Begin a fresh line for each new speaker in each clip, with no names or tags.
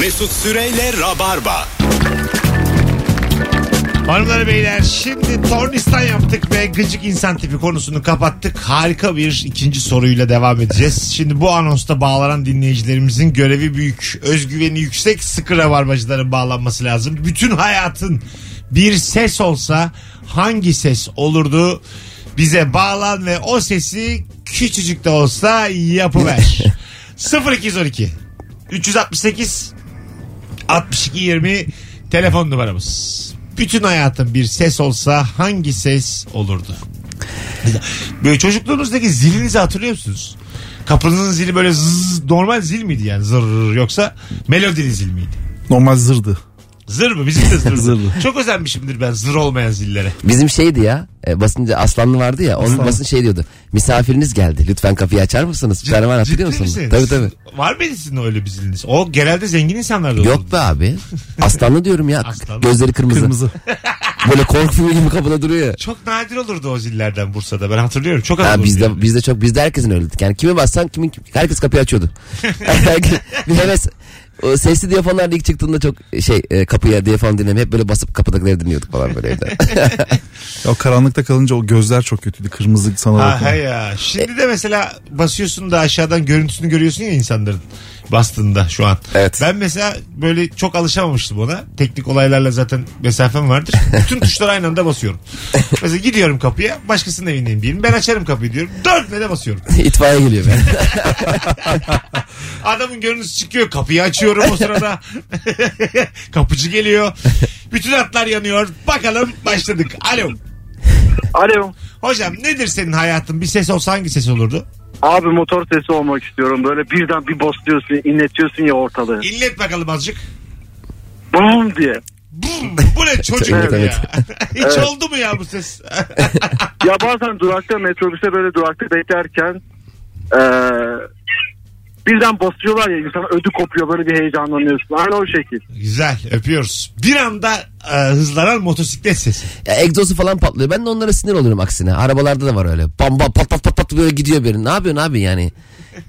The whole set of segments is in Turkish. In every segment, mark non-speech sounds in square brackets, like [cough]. Mesut Süreyle Rabarba.
Hanımlar beyler şimdi tornistan yaptık ve gıcık insan tipi konusunu kapattık. Harika bir ikinci soruyla devam edeceğiz. Şimdi bu anonsta bağlanan dinleyicilerimizin görevi büyük. Özgüveni yüksek sıkı rabarbacıların bağlanması lazım. Bütün hayatın bir ses olsa hangi ses olurdu? Bize bağlan ve o sesi küçücük de olsa yapıver. 0212 368 62 20 telefon numaramız. Bütün hayatın bir ses olsa hangi ses olurdu? Bir de- Böyle çocukluğunuzdaki zilinizi hatırlıyor musunuz? Kapınızın zili böyle zzz, normal zil miydi yani zır yoksa melodili zil miydi?
Normal zırdı.
Zır mı? Bizim de
[laughs]
zırdı.
Zırdı.
Çok özenmişimdir ben zır olmayan zillere.
Bizim şeydi ya e, basınca aslanlı vardı ya onun basın şey diyordu. Misafiriniz geldi lütfen kapıyı açar mısınız? Bir tane var hatırlıyor
Ciddi
musunuz?
misiniz?
Tabii tabii.
Var mıydı sizin öyle bir ziliniz? O genelde zengin insanlarda olurdu.
Yok
[laughs]
be abi. Aslanlı diyorum ya.
Aslanlı.
Gözleri kırmızı.
Kırmızı.
Böyle korku filmi gibi kapıda
[laughs]
duruyor ya.
Çok nadir olurdu o zillerden Bursa'da. Ben hatırlıyorum. Çok az
Ha,
olurdu.
bizde
yani.
bizde çok bizde herkesin öyle. Yani kime bassan kimin herkes
[laughs]
kapıyı açıyordu. [laughs] Herkes- bir heves o sesli diyafonlar da ilk çıktığında çok şey e, kapıya diyafon dinlemeye hep böyle basıp kapıdakileri dinliyorduk falan böyle evde.
O karanlıkta kalınca o gözler çok kötüydü. Kırmızı sana
Ha,
bakıyor.
he ya. Şimdi de mesela basıyorsun da aşağıdan görüntüsünü görüyorsun ya insanların bastığında şu an.
Evet.
Ben mesela böyle çok alışamamıştım ona. Teknik olaylarla zaten mesafem vardır. Bütün tuşları aynı anda basıyorum. mesela gidiyorum kapıya başkasının evindeyim diyelim. Ben açarım kapıyı diyorum. Dörtle de basıyorum.
[laughs] İtfaiye geliyor ben.
Adamın görüntüsü çıkıyor. Kapıyı açıyorum o sırada. [laughs] Kapıcı geliyor. Bütün hatlar yanıyor. Bakalım başladık. Alo.
Alo.
Hocam nedir senin hayatın? Bir ses olsa hangi ses olurdu?
Abi motor sesi olmak istiyorum. Böyle birden bir basıyorsun, inletiyorsun ya ortalığı.
İnlet bakalım azıcık.
Bum diye.
Bum, bu ne çocuk
Evet,
gibi
evet.
ya. [laughs] Hiç oldu mu ya bu ses? [laughs]
Ya bazen durakta metrobüse böyle durakta beklerken eee, birden basıyorlar ya insan ödü kopuyor böyle bir heyecanlanıyorsun. Aynı o şekil.
Güzel öpüyoruz. Bir anda e, hızlanan motosiklet sesi.
Ya, egzozu falan patlıyor. Ben de onlara sinir oluyorum aksine. Arabalarda da var öyle. Bam bam pat pat pat pat böyle gidiyor benim. Ne yapıyorsun abi yani?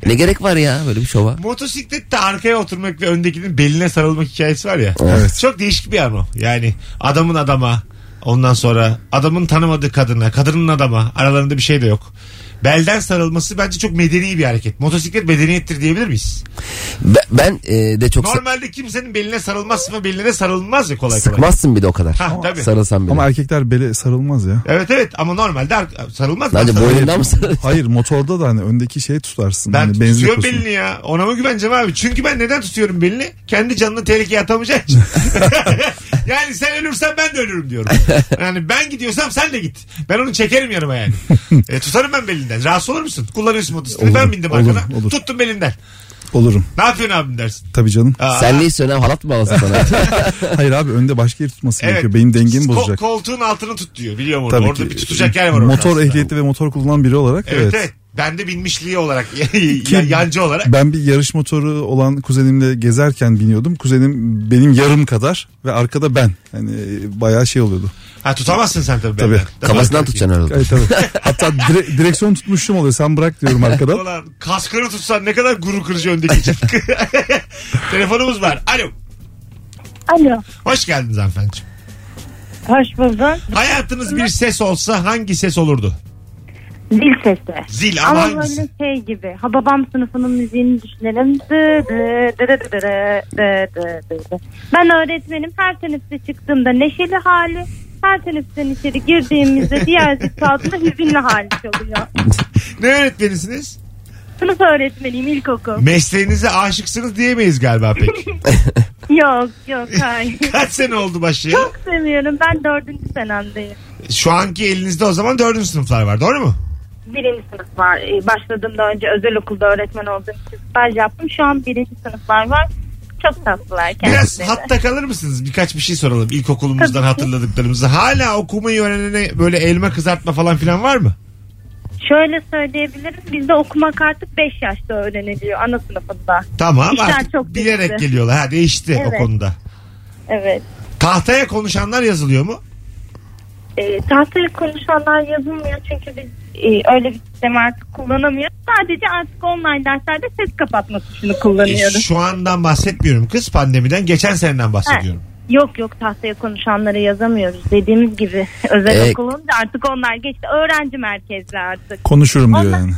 Ne gerek var ya böyle bir şova?
Motosiklette arkaya oturmak ve öndekinin beline sarılmak hikayesi var ya. Çok değişik bir an o. Yani adamın adama ondan sonra adamın tanımadığı kadına, kadının adama aralarında bir şey de yok. Belden sarılması bence çok medeni bir hareket. Motosiklet medeniyettir diyebilir miyiz?
Ben, ben, e, de çok sık-
Normalde kimsenin beline sarılmaz ve beline de sarılmaz ya kolay kolay.
sıkmazsın bir de o kadar.
Ha, tabii.
Sarılsan bile.
Ama erkekler bele sarılmaz ya.
Evet evet ama normalde ar- sarılmaz. Ben [laughs]
Sadece
sarılırım.
boynundan mı sarılıyorsun?
Hayır motorda da hani öndeki şeyi tutarsın.
Ben
hani benzin
tutuyorum
deposunu.
belini ya. Ona mı güveneceğim abi? Çünkü ben neden tutuyorum belini? Kendi canını tehlikeye atamayacağım için. [laughs] yani sen ölürsen ben de ölürüm diyorum. Yani ben gidiyorsam sen de git. Ben onu çekerim yanıma yani. E, tutarım ben belinden. Rahatsız olur musun? Kullanıyorsun motosikleti.
Olur,
Ben bindim
olur,
arkana.
olur.
Tuttum belinden.
Olurum.
Ne yapıyorsun abim dersin.
Tabii canım.
Aa,
Sen ne istiyorsun ha? halat mı alasın sana?
Hayır abi önde başka yeri tutması
evet.
gerekiyor. Benim dengemi
Ko-
bozacak.
koltuğun altını tut diyor. Biliyorum orada.
Tabii
orada
ki.
bir tutacak yer var orada.
Motor
aslında.
ehliyeti ve motor kullanan biri olarak
Evet evet. Ben de binmişliği olarak [laughs] ya- yancı olarak.
Ben bir yarış motoru olan kuzenimle gezerken biniyordum. Kuzenim benim yarım kadar ve arkada ben. Hani bayağı şey oluyordu.
Ha tutamazsın sen tabii.
Tabii.
benden.
Kafasından tutacaksın herhalde.
Evet, tabii. Hatta dire- direksiyon tutmuşum oluyor. Sen bırak
[laughs]
diyorum arkadan.
Ulan kaskını tutsan ne kadar gurur kırıcı öndeki için.
[laughs]
Telefonumuz var. Alo.
Alo.
Hoş geldiniz hanımefendiciğim.
Hoş bulduk.
Hayatınız bir ses olsa hangi ses olurdu?
Dil sesi.
Zil ama,
E, Ama
hangisi?
böyle şey gibi. Ha babam sınıfının müziğini düşünelim. Dı dı dı dı dı dı dı dı dı dı. Ben öğretmenim. Her teneffüse çıktığımda neşeli hali. Her teneffüsten içeri [laughs] girdiğimizde diğer zil çaldığında hüzünlü hali çalıyor.
Ne öğretmenisiniz?
Sınıf öğretmeniyim ilkokul.
Mesleğinize aşıksınız diyemeyiz galiba
[laughs]
pek.
Yok yok hayır.
Kaç sene oldu başlayalı?
Çok seviyorum. Ben dördüncü senemdeyim.
Şu anki elinizde o zaman dördüncü sınıflar var doğru mu?
Birinci sınıf var. Ee, Başladığımda önce özel okulda öğretmen olduğum için staj yaptım. Şu an birinci sınıflar var. Çok tatlılar
Biraz
kendileri.
hatta kalır mısınız? Birkaç bir şey soralım ilkokulumuzdan
Tabii ki.
hatırladıklarımızı. Hala okumayı öğrenene böyle elma kızartma falan filan var mı?
Şöyle söyleyebilirim. Bizde okumak artık 5 yaşta öğreniliyor ana sınıfında.
Tamam
İşler
artık
çok değişti.
bilerek geliyorlar. Ha değişti
Evet.
o konuda.
Evet.
Tahtaya konuşanlar yazılıyor mu?
E, tahtayla konuşanlar Ee, yazılmıyor çünkü biz e, öyle bir sistemi artık kullanamıyoruz. Sadece artık online derslerde ses kapatma tuşunu
E,
kullanıyoruz.
şu andan bahsetmiyorum kız pandemiden. Geçen seneden bahsediyorum.
Yok yok tahtaya konuşanları yazamıyoruz. Dediğimiz gibi özel
Ee,
okul olunca artık onlar geçti. Öğrenci merkezli artık.
Konuşurum diyor
Ondan-
yani.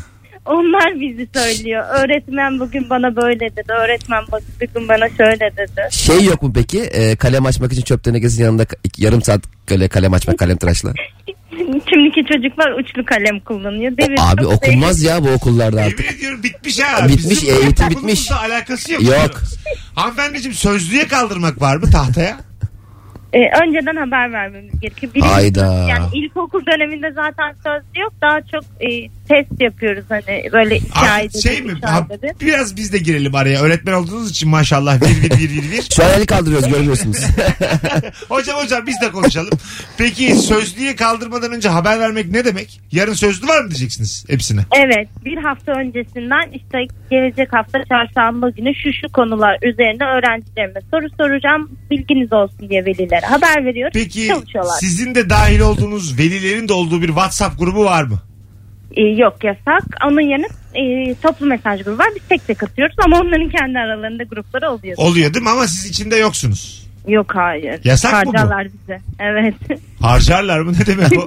Onlar bizi söylüyor. Öğretmen bugün bana böyle dedi. Öğretmen bak- bugün bana şöyle dedi.
Şey yok mu peki? Ee, kalem açmak için çöp tenekesinin yanında ka- iki- yarım saat böyle kalem açmak kalem tıraşla.
Şimdiki çocuklar uçlu kalem kullanıyor. Devir
Abi
çok
okunmaz ya bu okullarda artık.
Yemin ediyorum bitmiş ha.
Bitmiş,
Bizim
eğitim
okulumuzla
bitmiş.
alakası yok.
Yok.
Hanımefendiciğim sözlüğe kaldırmak var mı tahtaya?
Ee, önceden haber vermemiz gerekiyor. Birinci
Hayda.
sınıf, Yani ilkokul döneminde zaten sözlü yok. Daha çok e, test yapıyoruz hani böyle iki
Abi,
ayda
şey
bir,
mi?
üç
Ha,
ayda bir.
biraz biz de girelim araya. Öğretmen olduğunuz için maşallah. Bir bir bir bir bir.
Şu an el kaldırıyoruz görmüyorsunuz.
[laughs] Hocam hocam biz de konuşalım. Peki sözlüğe kaldırmadan önce haber vermek ne demek? Yarın sözlü var mı diyeceksiniz hepsine?
Evet bir hafta öncesinden işte gelecek hafta çarşamba günü şu şu konular üzerine öğrencilerime soru soracağım bilginiz olsun diye velilere haber veriyoruz
Peki
çalışıyorlar.
sizin de dahil olduğunuz velilerin de olduğu bir WhatsApp grubu var mı?
Ee, yok yasak onun yerine e, toplu mesaj grubu var biz tek tek atıyoruz ama onların kendi aralarında grupları oluyor.
Oluyor değil mi? Ama siz içinde yoksunuz.
Yok hayır.
Yasak mı bu?
Harcarlar bize. Evet. [laughs]
Harcarlar mı? Ne demek o?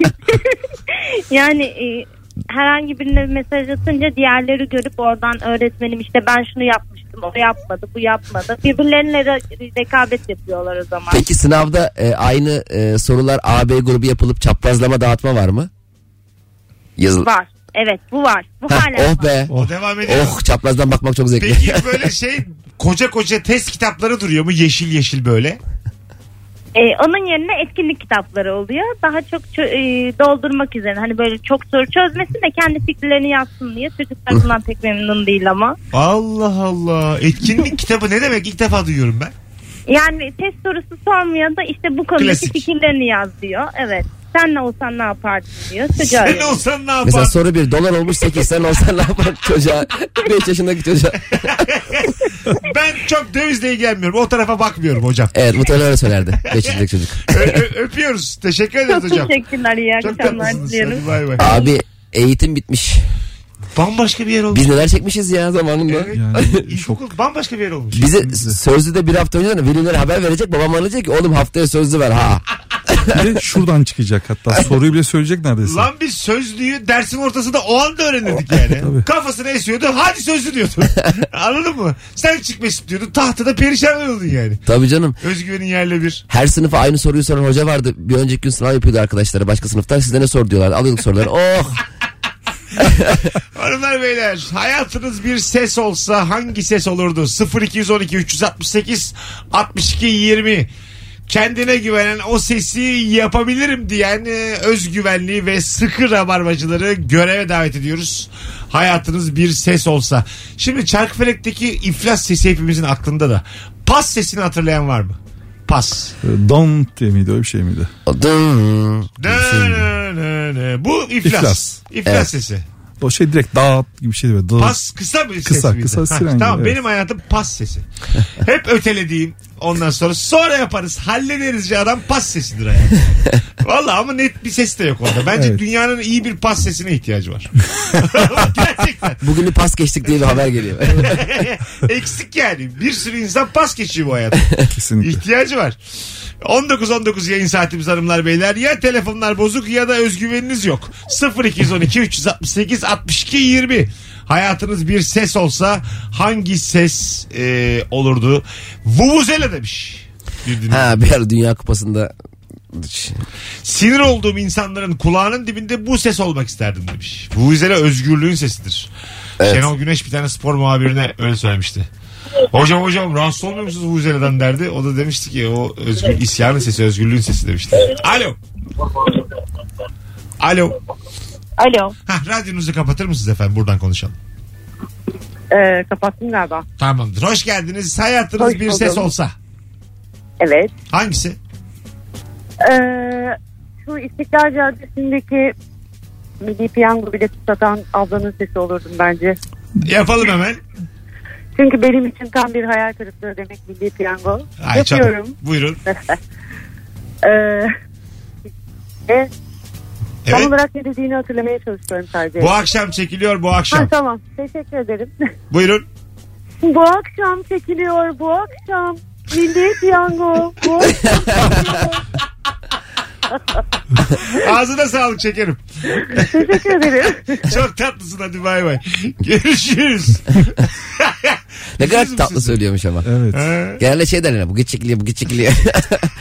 Yani e, herhangi birine bir mesaj atınca diğerleri görüp oradan öğretmenim işte ben şunu yapmıştım o yapmadı bu yapmadı. Birbirlerine re- rekabet yapıyorlar o zaman.
Peki sınavda e, aynı e, sorular AB grubu yapılıp çaprazlama dağıtma var mı? Yazıl.
Var. Evet bu var. Bu
Hah,
hala
oh
var.
be.
o devam ediyor.
Oh çaprazdan bakmak çok zevkli.
Peki böyle şey koca koca test kitapları duruyor mu? Yeşil yeşil böyle.
E, onun yerine etkinlik kitapları oluyor. Daha çok çö- e, doldurmak üzere. Hani böyle çok soru çözmesin de kendi fikirlerini yazsın diye. Çocuklar bundan pek memnun değil ama.
Allah Allah. Etkinlik kitabı ne demek? İlk defa duyuyorum ben.
Yani test sorusu sormayan da işte bu konudaki
Klasik.
fikirlerini yaz diyor. Evet. Sen ne olsan ne yapardın diyor. Çocuğa
Sen
yazıyor.
olsan ne
[laughs] Mesela
yapardın?
soru bir dolar olmuş 8 sen olsan ne yapar [laughs] çocuğa? 5 yaşındaki çocuğa.
Ben çok dövizle ilgilenmiyorum. O tarafa bakmıyorum hocam.
Evet muhtemelen öyle söylerdi 5 yaşındaki çocuk.
Ö- ö- öpüyoruz. Teşekkür ederiz
Çok
hocam.
[laughs] teşekkürler. iyi
Çok
akşamlar
tatlısınız.
diliyorum.
Hadi bay bay.
Abi eğitim bitmiş.
Bambaşka bir yer olmuş.
Biz neler çekmişiz ya zamanında.
Evet.
Yani
İlkokul bambaşka bir yer olmuş.
Bize sözlü de bir hafta önceden velilere haber verecek. Babam bana diyecek ki oğlum haftaya sözlü ver ha.
Bir de şuradan çıkacak hatta soruyu bile söyleyecek neredeyse.
Lan biz sözlüğü dersin ortasında o anda öğrenirdik [laughs] yani.
Tabii.
Kafasını esiyordu hadi sözlü [laughs] diyordu. Anladın mı? Sen çık Mesut diyordun tahtada perişan oluyordun yani.
Tabii canım.
Özgüvenin yerle bir.
Her sınıfa aynı soruyu soran hoca vardı. Bir önceki gün sınav yapıyordu arkadaşlara başka sınıftan. Sizde ne sor diyorlar. Alıyorduk soruları. [laughs] Oh
Hanımlar beyler hayatınız bir ses olsa hangi ses olurdu? 0212 368 62 20 kendine güvenen o sesi yapabilirim diyen e, özgüvenli ve sıkı rabarbacıları göreve davet ediyoruz. Hayatınız bir ses olsa. Şimdi Çarkıfelek'teki iflas sesi hepimizin aklında da. Pas sesini hatırlayan var mı? Pas.
Don Ee, diye miydi öyle bir şey miydi?
Dım.
Nö, nö, nö, nö. Bu iflas. İflas,
İflas.
Evet.
sesi.
O şey direkt dağıt gibi bir şeydi böyle. Dağıt.
Pas kısa bir ses
Kısa,
miydi?
kısa
Ha,
siren gibi,
Tamam
evet.
benim hayatım pas sesi. [laughs] Hep ötelediğim ondan sonra sonra yaparız hallederiz ya adam pas sesidir hayatım.
[laughs]
Valla ama net bir ses de yok orada. Bence
Evet.
dünyanın iyi bir pas sesine ihtiyacı
[laughs]
var. [laughs] Gerçekten. [laughs]
Bugünü pas geçtik diye bir haber geliyor.
Eksik yani. Bir sürü insan pas geçiyor bu hayatı.
Kesinlikle.
İhtiyacı var. 19-19 yayın saatimiz hanımlar beyler. Ya telefonlar bozuk ya da özgüveniniz yok. 0212 368 62 20. Hayatınız bir ses olsa hangi ses e, olurdu? Vuvuzela demiş. bir dinleyici.
ha bir ara Dünya Kupası'nda
Sinir olduğum insanların kulağının dibinde bu ses olmak isterdim demiş. Vuvuzela özgürlüğün sesidir.
Evet.
Şenol Güneş bir tane spor muhabirine öyle söylemişti. Hocam hocam rahatsız olmuyor musunuz Vuvuzela'dan derdi. O da demişti ki o özgür, isyanın sesi özgürlüğün sesi demişti. Alo. Alo.
Alo.
Hah, radyonuzu kapatır mısınız efendim? Buradan konuşalım.
Ee, kapattım galiba.
Tamamdır. Hoş geldiniz. Hayatınız
Hoş
bir ses
buldum.
olsa.
Evet.
Hangisi?
Ee, şu İstiklal Caddesi'ndeki milli piyango bileti satan ablanın sesi olurdum bence.
Yapalım hemen.
Çünkü benim için tam bir hayal kırıklığı demek milli piyango.
Ay, çabuk.
Ee, [laughs] Yapıyorum.
Buyurun.
ee, e,
Evet.
Tam olarak ne dediğini hatırlamaya çalışıyorum sadece.
Bu akşam çekiliyor bu
Ha,
akşam.
tamam teşekkür ederim. [laughs]
Buyurun.
bu akşam çekiliyor bu akşam. Milli Piyango.
[laughs]
Bu akşam
Ağzına sağlık şekerim.
teşekkür ederim.
[laughs] Çok tatlısın hadi bay bay. Görüşürüz. [laughs]
Ne kadar
Üzülür
tatlı
müsün?
söylüyormuş ama.
Evet.
Ha,
Genelde şey derler bu git çekiliyor bu git çekiliyor.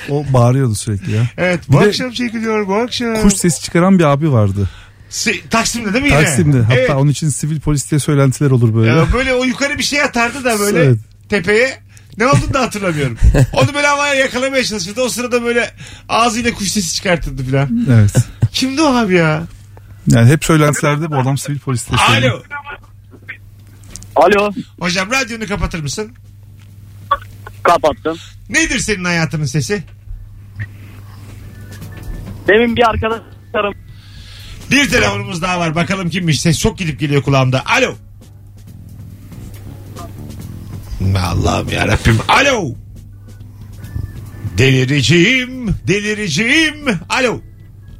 O bağırıyordu sürekli ya.
evet bu
Bir de-
akşam çekiliyor bu akşam.
Kuş sesi çıkaran bir abi vardı.
Se- Taksim'de değil mi yine?
Taksim'de. Hatta
Evet.
onun için sivil polis diye söylentiler olur böyle.
Ya böyle o yukarı bir şey atardı da böyle
Evet.
tepeye. Ne olduğunu da hatırlamıyorum.
[laughs]
Onu böyle havaya yakalamaya çalışırdı. O sırada böyle ağzıyla kuş sesi çıkartırdı filan.
Evet.
Kimdi o abi ya?
Yani hep söylentilerde bu adam sivil polis diye söyleniyor.
Alo.
Alo
Hocam radyonu kapatır mısın?
kapattım.
Nedir senin hayatının sesi?
Demin bir arkadaşlarım
Bir telefonumuz daha var. Bakalım kimmiş? Ses çok gidip geliyor kulağımda. Alo. Allah'ım yarabbim. Alo. Delireceğim. Delireceğim. Alo.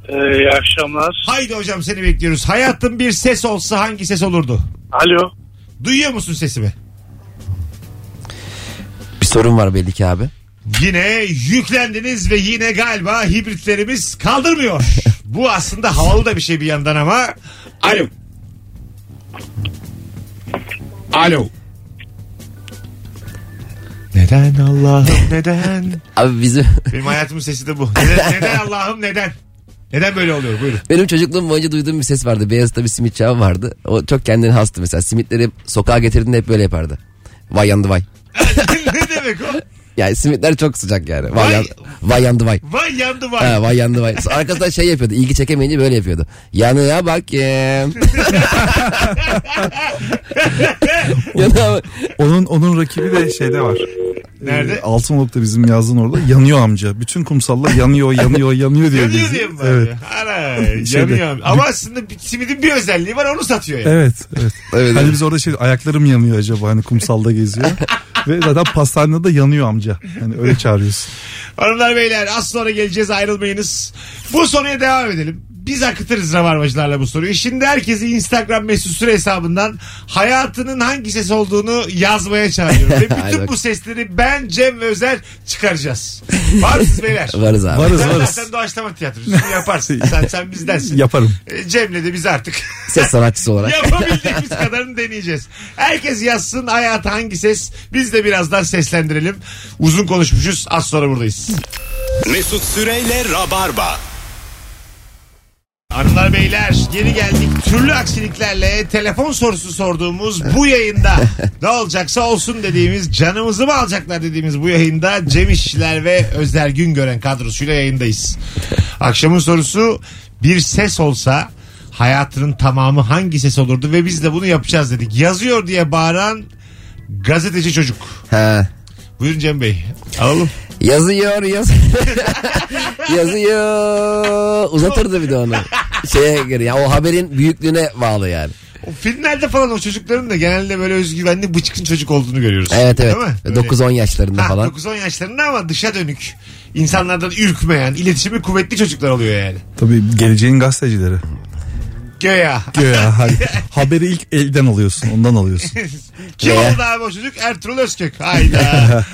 iyi akşamlar.
Haydi hocam seni bekliyoruz. Hayatın bir ses olsa hangi ses olurdu?
Alo.
Duyuyor musun sesimi?
[laughs] bir sorun var belli ki abi.
Yine yüklendiniz ve yine galiba hibritlerimiz [laughs] kaldırmıyor. Bu aslında havalı da bir şey bir yandan ama. Alo. Alo. Neden Allah'ım neden?
Abi bizim [laughs]
Benim hayatımın sesi de bu. Neden, neden Allah'ım neden? Neden böyle oluyor? Buyurun.
benim çocukluğum boyunca duyduğum bir ses vardı. Beyazıt'ta bir simitçi abi vardı. O çok kendini hastı mesela. Simitleri hep sokağa getirdiğinde hep böyle yapardı. Vay yandı vay.
[laughs] ne demek o?
Yani simitler çok sıcak
Vay-
yani. Vay, yan- vay yandı vay.
Vay yandı vay.
Ha, vay yandı vay. Arkasından şey yapıyordu. İlgi çekemeyince böyle yapıyordu.
[laughs]
Yanına bakayım. Yanına
Onun onun rakibi de şeyde var.
Nerede?
Ee, Altınoluk'ta bizim yazdığın orada yanıyor amca. Bütün kumsallar yanıyor, yanıyor, yanıyor diyor.
Yanıyor
bizi.
diye mi var
Evet.
ya? Ana,
Şeyde-
yanıyor. Ama aslında bir- simidin bir özelliği var onu satıyor yani.
Evet, evet.
Evet,
hani
evet.
biz orada şey ayaklarım yanıyor acaba hani kumsalda geziyor. Ve zaten pastanede de yanıyor amca. Hani öyle çağırıyorsun.
Hanımlar beyler az sonra geleceğiz ayrılmayınız. Bu soruya devam edelim. Biz akıtırız Rabarbacılarla bu soruyu. Şimdi herkesi Instagram mesut süre hesabından hayatının hangi ses olduğunu yazmaya
[laughs]
çağırıyorum. Ve
Hadi
bütün
bakalım.
bu sesleri ben Cem ve Özer
[laughs]
çıkaracağız. Var mısınız beyler?
varız abi.
Varız
Sen
varız.
zaten doğaçlama tiyatrosu yaparsın.
[laughs]
Sen, sen bizdensin.
Yaparım.
E, Cem'le de biz
[laughs]
artık
Ses sanatçısı olarak.
yapabildiğimiz kadarını deneyeceğiz. Herkes yazsın hayat hangi ses. Biz de birazdan seslendirelim. Uzun konuşmuşuz. Az sonra buradayız.
Mesut Süreyle Rabarba.
Hanımlar beyler geri geldik. Türlü aksiliklerle telefon sorusu sorduğumuz bu
[laughs]
yayında ne olacaksa olsun dediğimiz canımızı mı alacaklar dediğimiz bu yayında Cem İşçiler ve Özler Güngören kadrosuyla yayındayız. Akşamın sorusu bir ses olsa hayatının tamamı hangi ses olurdu ve biz de bunu yapacağız dedik. Yazıyor diye bağıran gazeteci çocuk.
Ha.
Buyurun Cem Bey.
[laughs]
Alalım.
Yazıyor yaz. [laughs] yazıyor. Uzatırdı bir de onu. Şeye göre ya o haberin büyüklüğüne bağlı yani.
O filmlerde falan o çocukların da genelde böyle özgüvenli bıçkın çocuk olduğunu görüyoruz.
Evet evet.
Değil mi? Böyle-
9-10 yaşlarında
Ha,
falan.
9-10 yaşlarında ama dışa dönük. İnsanlardan ürkmeyen, iletişimi kuvvetli çocuklar oluyor yani.
Tabii geleceğin gazetecileri.
Göya.
Güya hani haberi ilk elden alıyorsun, ondan alıyorsun.
Kim
Göya.
oldu abi o çocuk? Ertuğrul Özkök.
[laughs]
Hayda.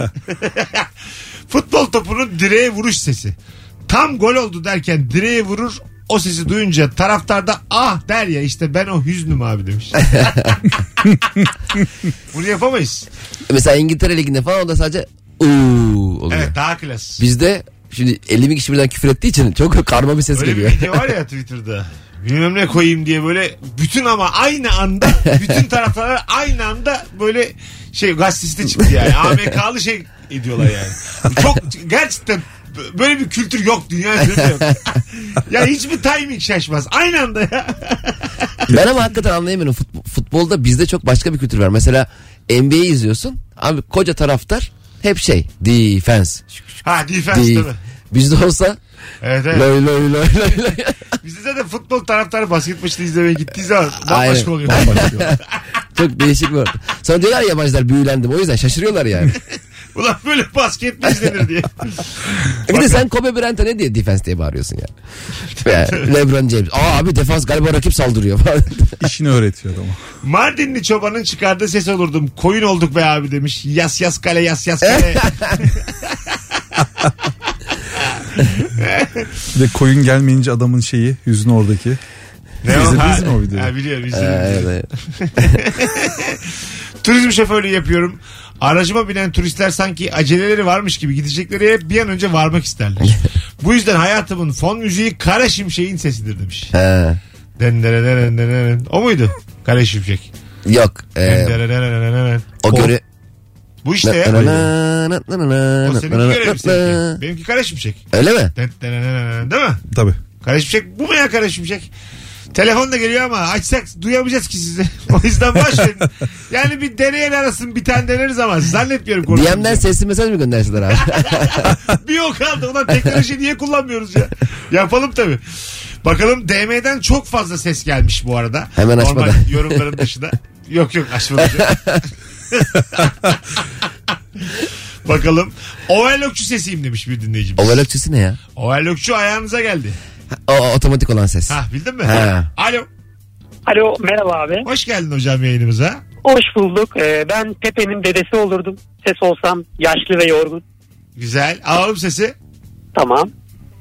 Futbol topunun direğe vuruş sesi. Tam gol oldu derken direğe vurur o sesi duyunca taraftar da ah der ya işte ben o hüznüm abi
[laughs]
demiş. Bunu yapamayız.
Mesela İngiltere Ligi'nde falan o da sadece uuu oluyor.
Evet daha klas.
Bizde şimdi 50 bin kişi birden küfür ettiği için çok karma bir ses
Öyle bir
geliyor.
video
[laughs]
var ya Twitter'da. Bilmem ne koyayım diye böyle bütün ama aynı anda bütün taraftarlar aynı anda böyle şey gazetesi de çıktı
[laughs]
yani. AMK'lı şey ediyorlar yani. Çok gerçekten b- böyle bir kültür yok dünya üzerinde yok. [laughs] ya hiçbir timing şaşmaz. Aynı anda ya.
Ben ama hakikaten anlayamıyorum. Futbol, futbolda bizde çok başka bir kültür var. Mesela NBA'yi izliyorsun. Abi koca taraftar hep şey.
[laughs]
Defense.
Ha defense
Değil.
tabii.
Bizde olsa
Evet evet.
loy loy loy loy loy. [laughs]
Bizde zaten futbol taraftarı basket maçını izlemeye gittiği zaman
Aynen.
bambaşka oluyor. [laughs]
Çok değişik bir ortam. Sonra diyorlar ya yabancılar büyülendim. O yüzden şaşırıyorlar yani.
[laughs] Ulan böyle basket mi izlenir diye.
Bir de sen Kobe Bryant'a ne diye defense diye
[laughs]
bağırıyorsun ya. Ve Lebron James. Aa abi defans galiba rakip saldırıyor falan. [laughs]
İşini öğretiyor adama.
Mardinli çobanın çıkardığı ses olurdum. Koyun olduk be abi demiş. Yas yas kale yas yas kale.
Bir de koyun gelmeyince adamın şeyi yüzünü oradaki.
ne
İzlediniz mi o videoyu?
Ha, biliyorum
Ee,
izledim.
evet.
Turizm şoförlüğü yapıyorum. Aracıma binen turistler sanki aceleleri varmış gibi gidecekleri yere bir an önce varmak isterler. Bu yüzden hayatımın fon müziği Kara Şimşek'in sesidir demiş.
Ha.
Denderenereneneren. O muydu? Kara Şimşek.
Yok. ee,
Denderenereneneren.
o göre...
Bu işte ya. O seninki görev seninki. Benimki Kara Şimşek.
Öyle mi?
Denderenerenen, Değil mi?
Tabii.
Kara Şimşek bu mu ya Kara Şimşek? Telefon da geliyor ama açsak duyamayacağız ki sizi. [laughs] O yüzden boş verin. Yani bir deneyen arasın bir tane deneriz ama zannetmiyorum. konuşmamızı.
DM'den sesli mesaj mı göndersinler abi?
[laughs]
[laughs]
Bir o kaldı. Ulan teknoloji niye kullanmıyoruz ya? Yapalım tabii. Bakalım DM'den çok fazla ses gelmiş bu arada.
Hemen
Normal
açmadan.
[laughs] yorumların dışında. Yok yok
[laughs]
açmadan. Bakalım. Overlockçu sesiyim demiş bir dinleyicimiz.
Overlockçısı ne ya?
Overlockçu ayağınıza geldi.
O, o otomatik olan ses.
Ha bildin mi?
Ha.
Alo.
Alo merhaba abi.
Hoş geldin hocam yayınımıza.
Hoş bulduk. Ee, ben Pepe'nin dedesi olurdum. Ses olsam yaşlı ve yorgun.
Güzel. Alalım sesi.
Tamam.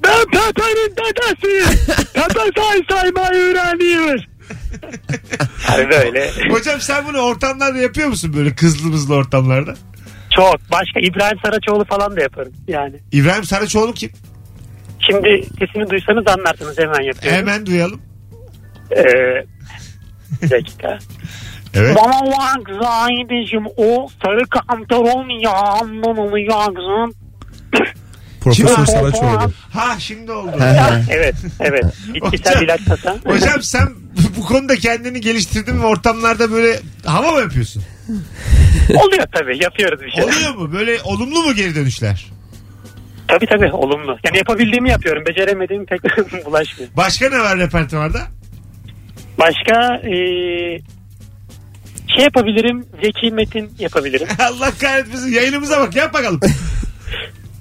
Ben Pepe'nin [laughs] dedesi. Pepe say saymayı öğreniyor. hani böyle.
Hocam sen bunu ortamlarda yapıyor musun böyle kızlı mızlı ortamlarda?
Çok. Başka İbrahim Saraçoğlu falan da yaparım yani.
İbrahim Saraçoğlu kim?
Şimdi sesini duysanız anlarsınız hemen yapıyorum.
Hemen duyalım.
Ee, bir dakika.
Evet.
Bana bak Zahideciğim o sarı kantaron yağmurunu yaksın.
Profesör Saraçoğlu.
Ha şimdi oldu.
Evet, evet. Bitkisel ilaç [laughs] satan.
Hocam sen bu konuda kendini geliştirdin ve ortamlarda böyle hava mı yapıyorsun?
Oluyor tabii. Yapıyoruz bir şey.
Oluyor mu? Böyle olumlu mu geri dönüşler?
Tabii tabii olumlu. Yani yapabildiğimi yapıyorum. Beceremediğim pek [laughs] bulaşmıyor.
Başka ne var repertuarda? [laughs]
Başka ee, şey yapabilirim. Zeki Metin yapabilirim.
Allah kahretmesin yayınımıza bak yap bakalım.
[laughs]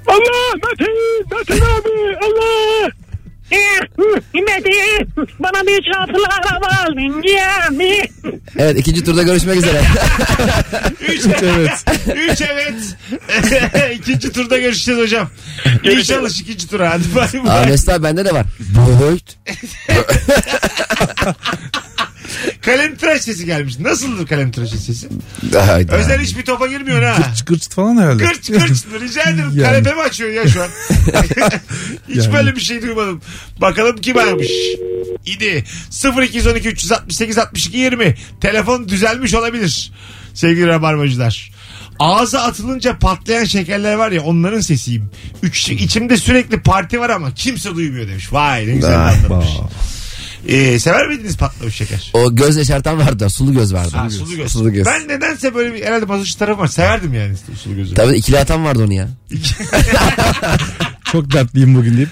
Allah Metin! Metin abi! Allah! Metin! Bana bir çatılı araba al.
Evet ikinci turda
[laughs]
görüşmek üzere.
Üç [laughs] evet. Üç evet. [laughs] ikinci turda görüşeceğiz hocam. İyi çalış ikinci tura. Hadi bay
Aa,
bay.
Mesut abi bende de var. Bolt.
Kalem tıraş sesi gelmiş. Nasıldır kalem tıraş sesi?
Hayda.
Özel hiçbir topa girmiyor ha.
Gırç gırç falan herhalde.
Kırç kırç rica ederim.
Yani.
Kanepe mi açıyor ya şu an? Hiç
Yani.
böyle bir şey duymadım. Bakalım kim aramış? İdi. 0212 368 62 20. Telefon düzelmiş olabilir. Sevgili rabarbacılar. Ağza atılınca patlayan şekerler var ya onların sesiyim. Üç, içimde sürekli parti var ama kimse duymuyor demiş. Vay ne güzel anlatmış. Ee, sever miydiniz patlamış şeker?
O göz yaşartan vardı. Sulu göz vardı.
Ha, sulu göz.
Sulu göz.
Ben nedense böyle bir herhalde bazı tarafım var. Severdim yani sulu gözü.
Tabii ikili atan vardı onu ya.
[laughs] Çok dertliyim bugün deyip.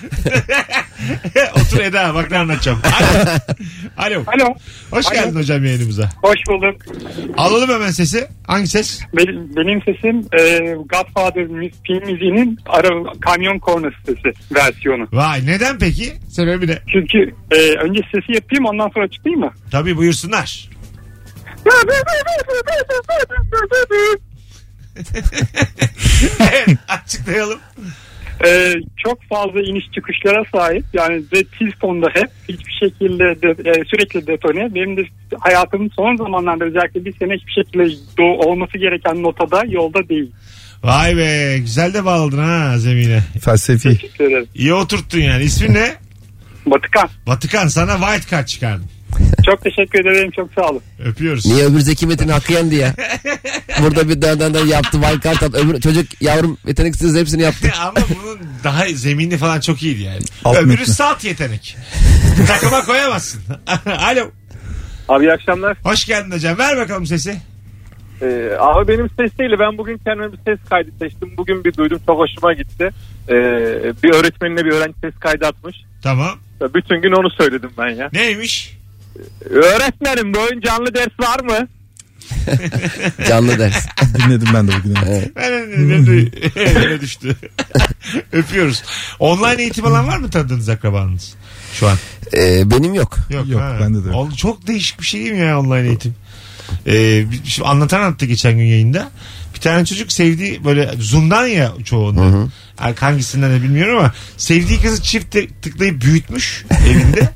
[laughs] Otur Eda bak ne anlatacağım. Alo. Alo.
Alo.
Hoş
Alo.
geldin hocam yayınımıza.
Hoş bulduk.
Alalım hemen sesi. Hangi ses?
Benim, benim sesim e, Godfather müz- film müziğinin ara, kamyon kornası sesi versiyonu.
Vay neden peki? Sebebi ne?
Çünkü e, önce sesi yapayım ondan sonra çıkayım mı?
Tabii buyursunlar. evet, açıklayalım.
E, çok fazla iniş çıkışlara sahip yani ve tiz tonda hep hiçbir şekilde de, e, sürekli detone. Benim de hayatımın son zamanlarda özellikle bir sene hiçbir şekilde do- olması gereken notada yolda değil.
Vay be güzel de bağladın ha zemine.
Felsefi.
Teşekkür ederim.
İyi oturttun yani. İsmin ne?
Ee, Batıkan
Vatikan sana white card çıkardım.
çok teşekkür ederim çok sağ olun.
Öpüyoruz.
Niye öbür Zeki
[laughs]
Metin hakkı yendi ya? Burada bir dan dan dan yaptı. Valkart at. Öbür çocuk yavrum yeteneksiz hepsini yaptı.
Ama bunun daha zemini falan çok iyiydi yani.
Alt
Öbürü
metni.
salt yetenek. Takıma koyamazsın. Alo.
Abi iyi akşamlar.
Hoş geldin hocam. Ver bakalım sesi.
Ee, abi benim ses değil de ben bugün kendime bir ses kaydı seçtim. Bugün bir duydum çok hoşuma gitti. Ee, bir öğretmenine bir öğrenci ses kaydı atmış.
Tamam.
Bütün gün onu söyledim ben ya.
Neymiş?
Öğretmenim bugün canlı ders var mı?
[laughs]
Canlı ders.
Dinledim ben de bugün. evet.
Ben önüne, dü- önüne düştü. Öpüyoruz. Online eğitim alan var mı tanıdığınız akrabanız? Şu an.
Ee, benim yok.
Yok,
Yok, bende de yok.
Oğlum Çok değişik bir şey değil mi ya online eğitim? Ee, bir- şimdi anlatan anlattı geçen gün yayında. Bir tane çocuk sevdiği böyle Zoom'dan ya çoğunluğu. Yani hangisinden de bilmiyorum ama sevdiği kızı çift te- tıklayıp büyütmüş
[laughs]
evinde.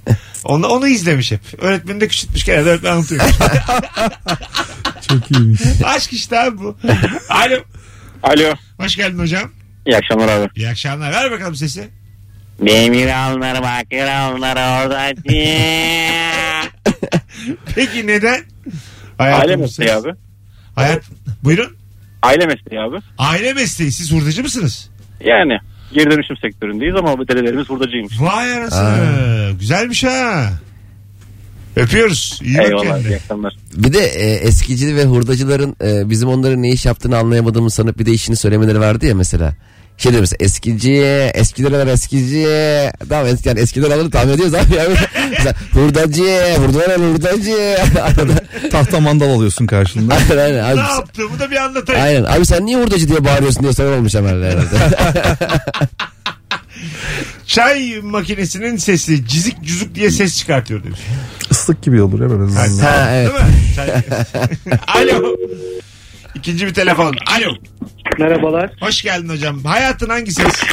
Onu, onu izlemiş hep. Öğretmeni de küçültmüş genelde öğretmen
[laughs]
anlatıyor.
Çok iyiymiş.
Aşk işte abi bu. Alo.
Alo.
Hoş geldin hocam.
İyi akşamlar abi.
İyi akşamlar. Ver bakalım sesi.
Demir alınır bakır alınır orada.
Peki neden?
Aile
Hayatım
mesleği
ses-
abi.
Hayat... Buyurun.
Aile mesleği abi.
Aile mesleği. Siz hurdacı mısınız?
Yani geri dönüşüm sektöründeyiz ama bu dedelerimiz hurdacıymış.
Vay anasını. Güzelmiş ha. Öpüyoruz. İyi bak
Eyvallah iyi
kendine.
akşamlar.
Bir de e, eskici ve hurdacıların e, bizim onların ne iş yaptığını anlayamadığımız sanıp bir de işini söylemeleri vardı ya mesela. Şey diyor mesela eskiciye, eskiler alır eskiciye. Tamam eski, yani eskiler alır tahmin ediyoruz abi. Yani, [laughs] mesela hurdacıya, hurdalar alır hurdacıya. [laughs] Arada-
Tahta mandal alıyorsun karşılığında.
aynen aynen. Abi,
Ne yaptığımı da bir anlatayım.
aynen. Abi sen niye hurdacı diye bağırıyorsun diye soran olmuş hemen
[laughs]
herhalde.
Çay makinesinin sesi cizik cüzük diye ses çıkartıyor demiş.
Islık gibi olur ya böyle.
Yani,
ha evet.
Değil mi? Çay- [laughs] Alo. İkinci bir telefon. Alo.
Merhabalar.
Hoş geldin hocam. Hayatın hangi ses?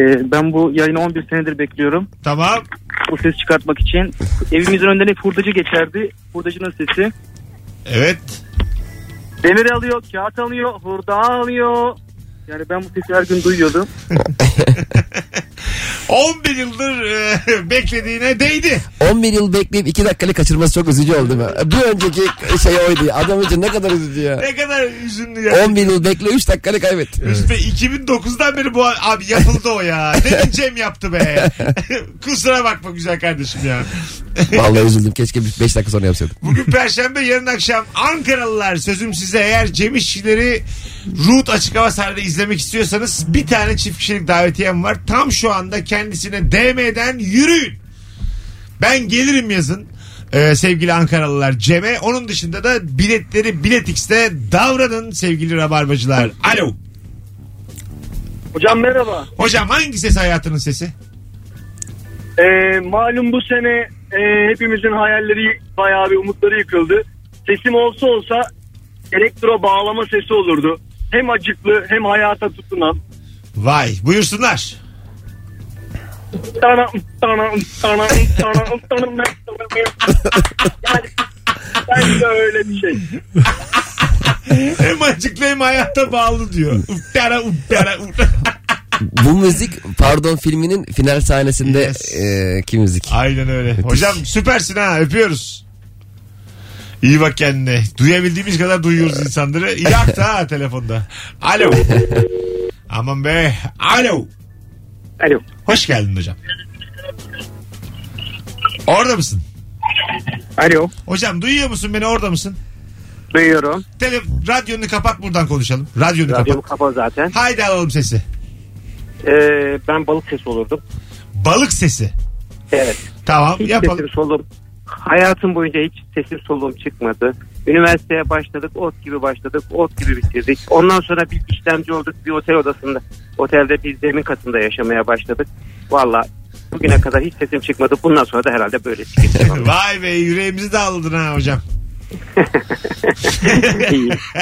Ee, ben bu yayını 11 senedir bekliyorum.
Tamam.
Bu ses çıkartmak için. Evimizin önünden hep hurdacı geçerdi. Hurdacının sesi.
Evet.
Demir alıyor, kağıt alıyor, hurda alıyor. Yani ben bu sesi her gün duyuyordum.
11 yıldır e, [laughs] beklediğine değdi.
11 yıl bekleyip 2 dakikalık kaçırması çok üzücü oldu. mu? Bir önceki şey oydu. ya. Adam için ne kadar üzücü ya.
Ne kadar üzünlü ya.
11 yıl bekle 3 dakikanı kaybet.
Mesut Bey 2009'dan beri bu abi yapıldı o ya. Demin Cem yaptı be. [laughs] Kusura bakma güzel kardeşim ya.
Vallahi üzüldüm. Keşke 5 dakika sonra yapsaydım.
Bugün Perşembe yarın akşam Ankaralılar sözüm size eğer Cem İşçileri Root Açık Hava Sahnede izlemek istiyorsanız bir tane çift kişilik davetiyem var. Tam şu anda kendisine DM'den yürüyün. Ben gelirim yazın. Ee, sevgili Ankaralılar Cem'e. Onun dışında da biletleri Biletix'te davranın sevgili Rabarbacılar. Alo.
Hocam merhaba.
Hocam hangi ses hayatının sesi?
Ee, malum bu sene e, hepimizin hayalleri bayağı bir umutları yıkıldı. Sesim olsa olsa elektro bağlama sesi olurdu. Hem acıklı hem hayata tutunan.
Vay buyursunlar.
Tana, tana, tana, tana, tana, yani ben de öyle bir şey.
Hem acıklı hem hayata bağlı diyor. Uptara uptara uptara.
Bu müzik pardon filminin final sahnesinde
Yes.
e, ki müzik.
Aynen öyle. Hocam süpersin ha öpüyoruz. İyi bak kendine. Duyabildiğimiz kadar duyuyoruz insanları. Yak da ha telefonda. Alo. Aman be. Alo.
Alo.
Hoş geldin hocam. Orada mısın?
Alo.
Hocam duyuyor musun beni orada mısın?
Duyuyorum.
Tele radyonu kapat buradan konuşalım. Radyonu
Radyom
kapat.
kapalı zaten.
Haydi alalım sesi.
Ee, ben balık sesi olurdum.
Balık sesi.
Evet.
Tamam
Hiç
yapalım.
sesim solum. Hayatım boyunca hiç sesim solum çıkmadı. Üniversiteye başladık, ot gibi başladık, ot gibi bitirdik. Ondan sonra bir işlemci olduk bir otel odasında. Otelde biz zemin katında yaşamaya başladık. Valla bugüne kadar hiç sesim çıkmadı. Bundan sonra da herhalde böyle
[laughs]
çıkacağım.
Vay be yüreğimizi de aldın ha hocam.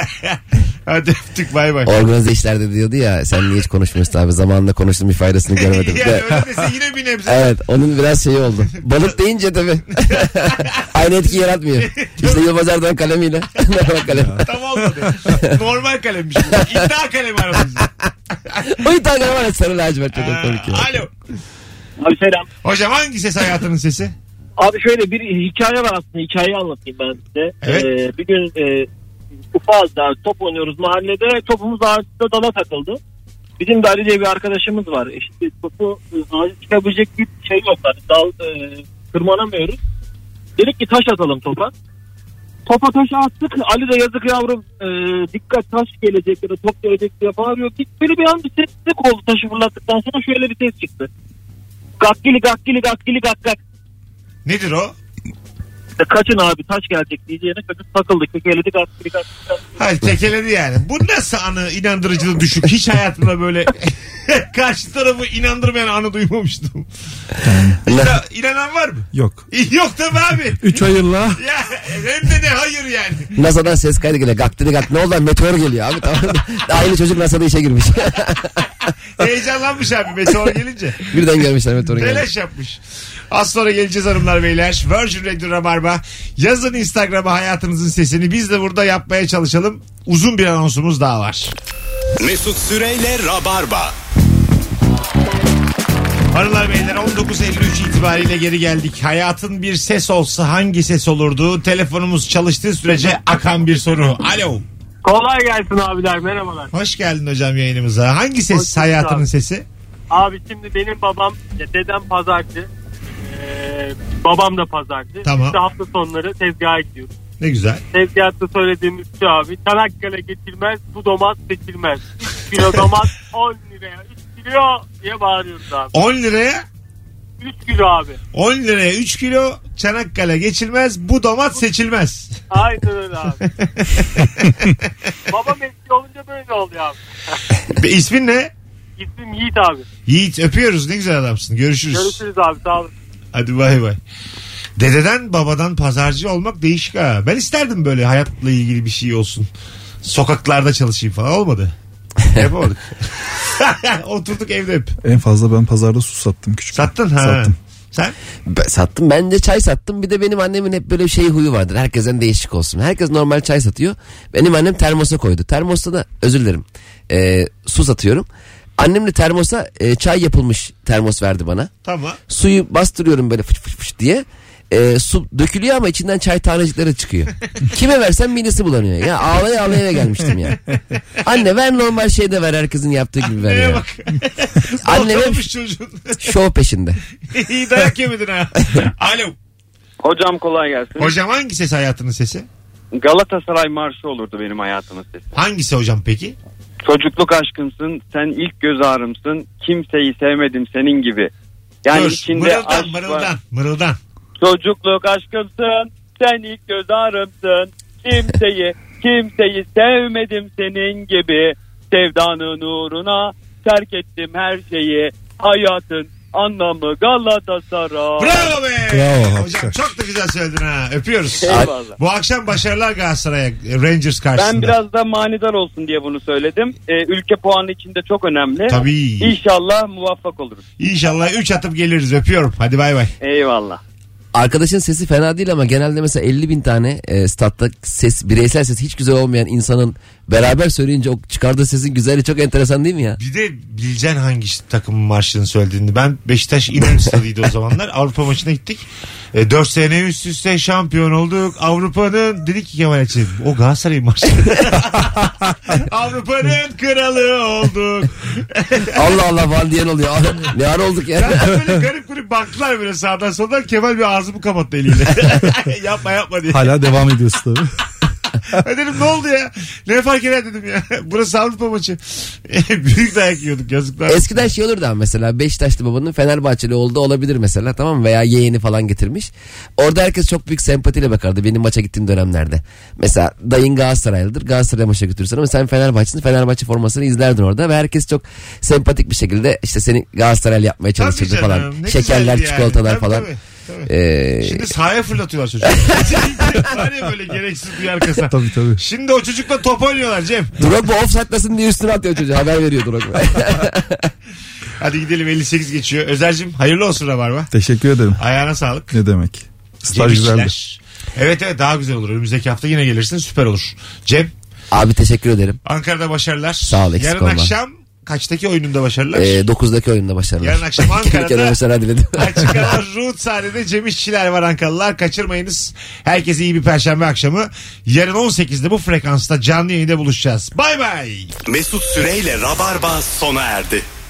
[laughs] Hadi öptük bay bay.
Organize işlerde diyordu ya sen niye hiç konuşmuyorsun abi zamanında konuştum bir faydasını görmedim.
[laughs] yani
De-
öyle dese yine bir
[laughs]
nebze.
Evet onun biraz şeyi oldu. Balık
[laughs]
deyince tabii. Aynı etki yaratmıyor. İşte Yılmaz Erdoğan kalemiyle. [laughs] Normal kalem.
Tam olmadı. Normal kalemmiş. bu. İddia kalemi aradınız.
O bir tane var ya sarı lacivert çok
Aa,
komik ya.
Alo.
Abi selam.
Hocam hangi ses hayatının sesi?
Abi şöyle bir hikaye var aslında hikayeyi anlatayım ben size.
Evet.
Ee, bir gün e, ufazda top oynuyoruz mahallede topumuz ağaçta dala takıldı. Bizim de Ali diye bir arkadaşımız var. İşte topu e, ağacı çıkabilecek bir şey yok. Yani dal e, tırmanamıyoruz. Dedik ki taş atalım topa. Topa taş attık. Ali de yazık yavrum e, dikkat taş gelecek ya da top gelecek diye bağırıyor. Böyle bir an bir sessizlik oldu taşı fırlattıktan sonra şöyle bir ses çıktı. Gakkili gakkili gakkili gak gak.
Nedir o?
İşte kaçın abi taş gelecek diyeceğine çocuk takıldı. Kekeledik askeri
Hayır tekeledi yani. Bu nasıl anı inandırıcılığı düşük? Hiç hayatımda böyle [laughs] karşı tarafı inandırmayan anı duymamıştım. İnan, inanan var mı?
Yok.
Yok tabii abi.
Üç hayırla.
Ya hem de ne hayır yani.
NASA'dan ses kaydı geliyor. Gaktini gakt. Ne oldu lan? Meteor geliyor abi. Tamam.
[laughs]
Aynı çocuk NASA'da işe girmiş. [laughs]
Heyecanlanmış abi meteor gelince.
Birden gelmişler meteorun geldi.
Telaş yapmış. Az sonra geleceğiz hanımlar beyler. Virgin Radio Rabarba. Yazın Instagram'a hayatınızın sesini. Biz de burada yapmaya çalışalım. Uzun bir anonsumuz daha var.
Mesut Süreyle Rabarba.
Hanımlar beyler 19.53 itibariyle geri geldik. Hayatın bir ses olsa hangi ses olurdu? Telefonumuz çalıştığı sürece akan bir soru. Alo.
Kolay gelsin abiler merhabalar.
Hoş geldin hocam yayınımıza. Hangi
Hoş
ses
bulduk
hayatının
abi.
sesi?
Abi şimdi benim babam ya dedem pazarcı. Ee, babam da pazarcı.
Tamam.
Biz de hafta sonları tezgaha gidiyoruz.
Ne güzel.
Tezgahta söylediğimiz şu abi. Çanakkale geçilmez, bu domat seçilmez. 3 kilo domat 10 liraya. 3 kilo diye bağırıyoruz abi.
10 liraya
3 kilo abi.
10 liraya 3 kilo Çanakkale geçilmez. Bu domat seçilmez.
Aynen öyle abi. babam eski olunca böyle oluyor abi.
Be- İsmin ne?
İsmim Yiğit abi.
Yiğit öpüyoruz ne güzel adamsın. Görüşürüz.
Görüşürüz abi sağ olun.
Hadi bay bay. Dededen babadan pazarcı olmak değişik ha. Ben isterdim böyle hayatla ilgili bir şey olsun. Sokaklarda çalışayım falan
[laughs]
olmadı. Yapamadık. [laughs] Oturduk evde hep.
En fazla ben pazarda su sattım küçük.
Sattın ha.
Sattım.
Sen?
Ben sattım. Ben de çay sattım. Bir de benim annemin hep böyle şey huyu vardır. Herkesten değişik olsun. Herkes normal çay satıyor. Benim annem termosa koydu. Termosta da özür dilerim. Ee, su satıyorum. Annem de termosa e, çay yapılmış termos verdi bana.
Tamam.
Suyu bastırıyorum böyle fış fış fış diye. Ee, su dökülüyor ama içinden çay tanecikleri çıkıyor. Kime versem minisi bulanıyor. Ya ağlaya ağlaya eve gelmiştim ya. Anne ver normal şey de ver herkesin yaptığı gibi ver
Neye
ya.
bak.
[laughs] Annem hep
Ortalamış çocuğun.
şov peşinde.
[laughs] İyi dayak yemedin
[laughs]
ha. Alo.
Hocam kolay gelsin.
Hocam hangi ses hayatının sesi?
Galatasaray marşı olurdu benim hayatımın sesi.
Hangisi hocam peki?
Çocukluk aşkımsın, sen ilk göz ağrımsın, kimseyi sevmedim senin gibi. Yani
Dur,
içinde
mırıldan,
aşk var.
mırıldan, mırıldan.
Çocukluk aşkımsın, sen ilk göz ağrımsın,
[laughs]
kimseyi, kimseyi sevmedim senin gibi. Sevdanın uğruna terk ettim her şeyi, hayatın anlamı Galatasaray.
Bravo be.
Bravo,
Hocam
hakikaten.
çok da güzel söyledin ha. Öpüyoruz.
Eyvallah.
Bu akşam başarılar Galatasaray'a Rangers karşısında.
Ben biraz da manidar olsun diye bunu söyledim. Ee, ülke puanı içinde çok önemli.
Tabii.
İnşallah muvaffak oluruz.
İnşallah 3 atıp geliriz. Öpüyorum. Hadi bay bay.
Eyvallah.
Arkadaşın sesi fena değil ama genelde mesela 50 bin tane e, statta ses bireysel ses hiç güzel olmayan insanın beraber söyleyince o çıkardığı sesin güzelliği çok enteresan değil mi ya?
Bir de bileceksin hangi takımın marşını söylediğini. Ben Beşiktaş İnan stadıydı o [laughs] zamanlar. Avrupa maçına gittik. 4 sene üst üste şampiyon olduk. Avrupa'nın dedik ki Kemal Ekşi. O Galatasaray marşı. [laughs] Avrupa'nın kralı olduk.
[laughs] Allah Allah falan diyen oluyor. ne ara olduk
Ben
ya?
de şey böyle garip garip baktılar böyle sağdan soldan. Kemal bir ağzımı kapattı eliyle. [laughs] yapma yapma diye.
Hala devam ediyorsun tabii. [laughs]
Ben dedim ne oldu ya? Ne fark eder dedim ya. [laughs] Burası Avrupa maçı. [laughs] Büyük dayak yiyorduk yazıklar.
Eskiden şey olurdu ama mesela Beşiktaşlı babanın Fenerbahçeli olduğu olabilir mesela tamam mı? Veya yeğeni falan getirmiş. Orada herkes çok büyük sempatiyle bakardı benim maça gittiğim dönemlerde. Mesela dayın Galatasaraylıdır Galatasaray maça götürürsen ama sen Fenerbahçe'sin Fenerbahçe formasını izlerdin orada. Ve herkes çok sempatik bir şekilde işte seni Galatasaraylı yapmaya
Tabii
çalışırdı
canım,
falan.
ne
Şekerler
güzeldi yani.
çikolatalar
Tabii,
falan.
tabii, tabii.
Ee,
Şimdi sahaya fırlatıyorlar
[laughs]
çocuğu. Var ya böyle gereksiz duyar kasa.
Tabii tabii.
Şimdi o çocukla top oynuyorlar Cem.
Drogba offside'lasın diye üstüne atıyor çocuğa. Haber
[laughs]
veriyor Drogba.
Hadi gidelim 58 geçiyor. Özer'cim hayırlı olsun Rabarba.
Teşekkür ederim.
Ayağına sağlık.
Ne demek? Staj
Cem
güzeldi.
İşçiler. Evet evet daha güzel olur. Önümüzdeki hafta yine gelirsin süper olur. Cem
Abi teşekkür ederim.
Ankara'da başarılar.
Sağ ol, eksik
Yarın
olma.
akşam kaçtaki oyununda başarılar? [laughs]
Ee, 9'daki oyunda başarılar.
Yarın
[laughs]
akşam
Kendi
Ankara'da-
kendime başarılar diledim.
Açık Hava Root sahnede Cem İşçiler var Ankaralılar. Kaçırmayınız. Herkese iyi bir perşembe akşamı. Yarın 18'de bu frekansta canlı yayında buluşacağız. Bay bay.
Mesut Süreyle Rabarba sona erdi.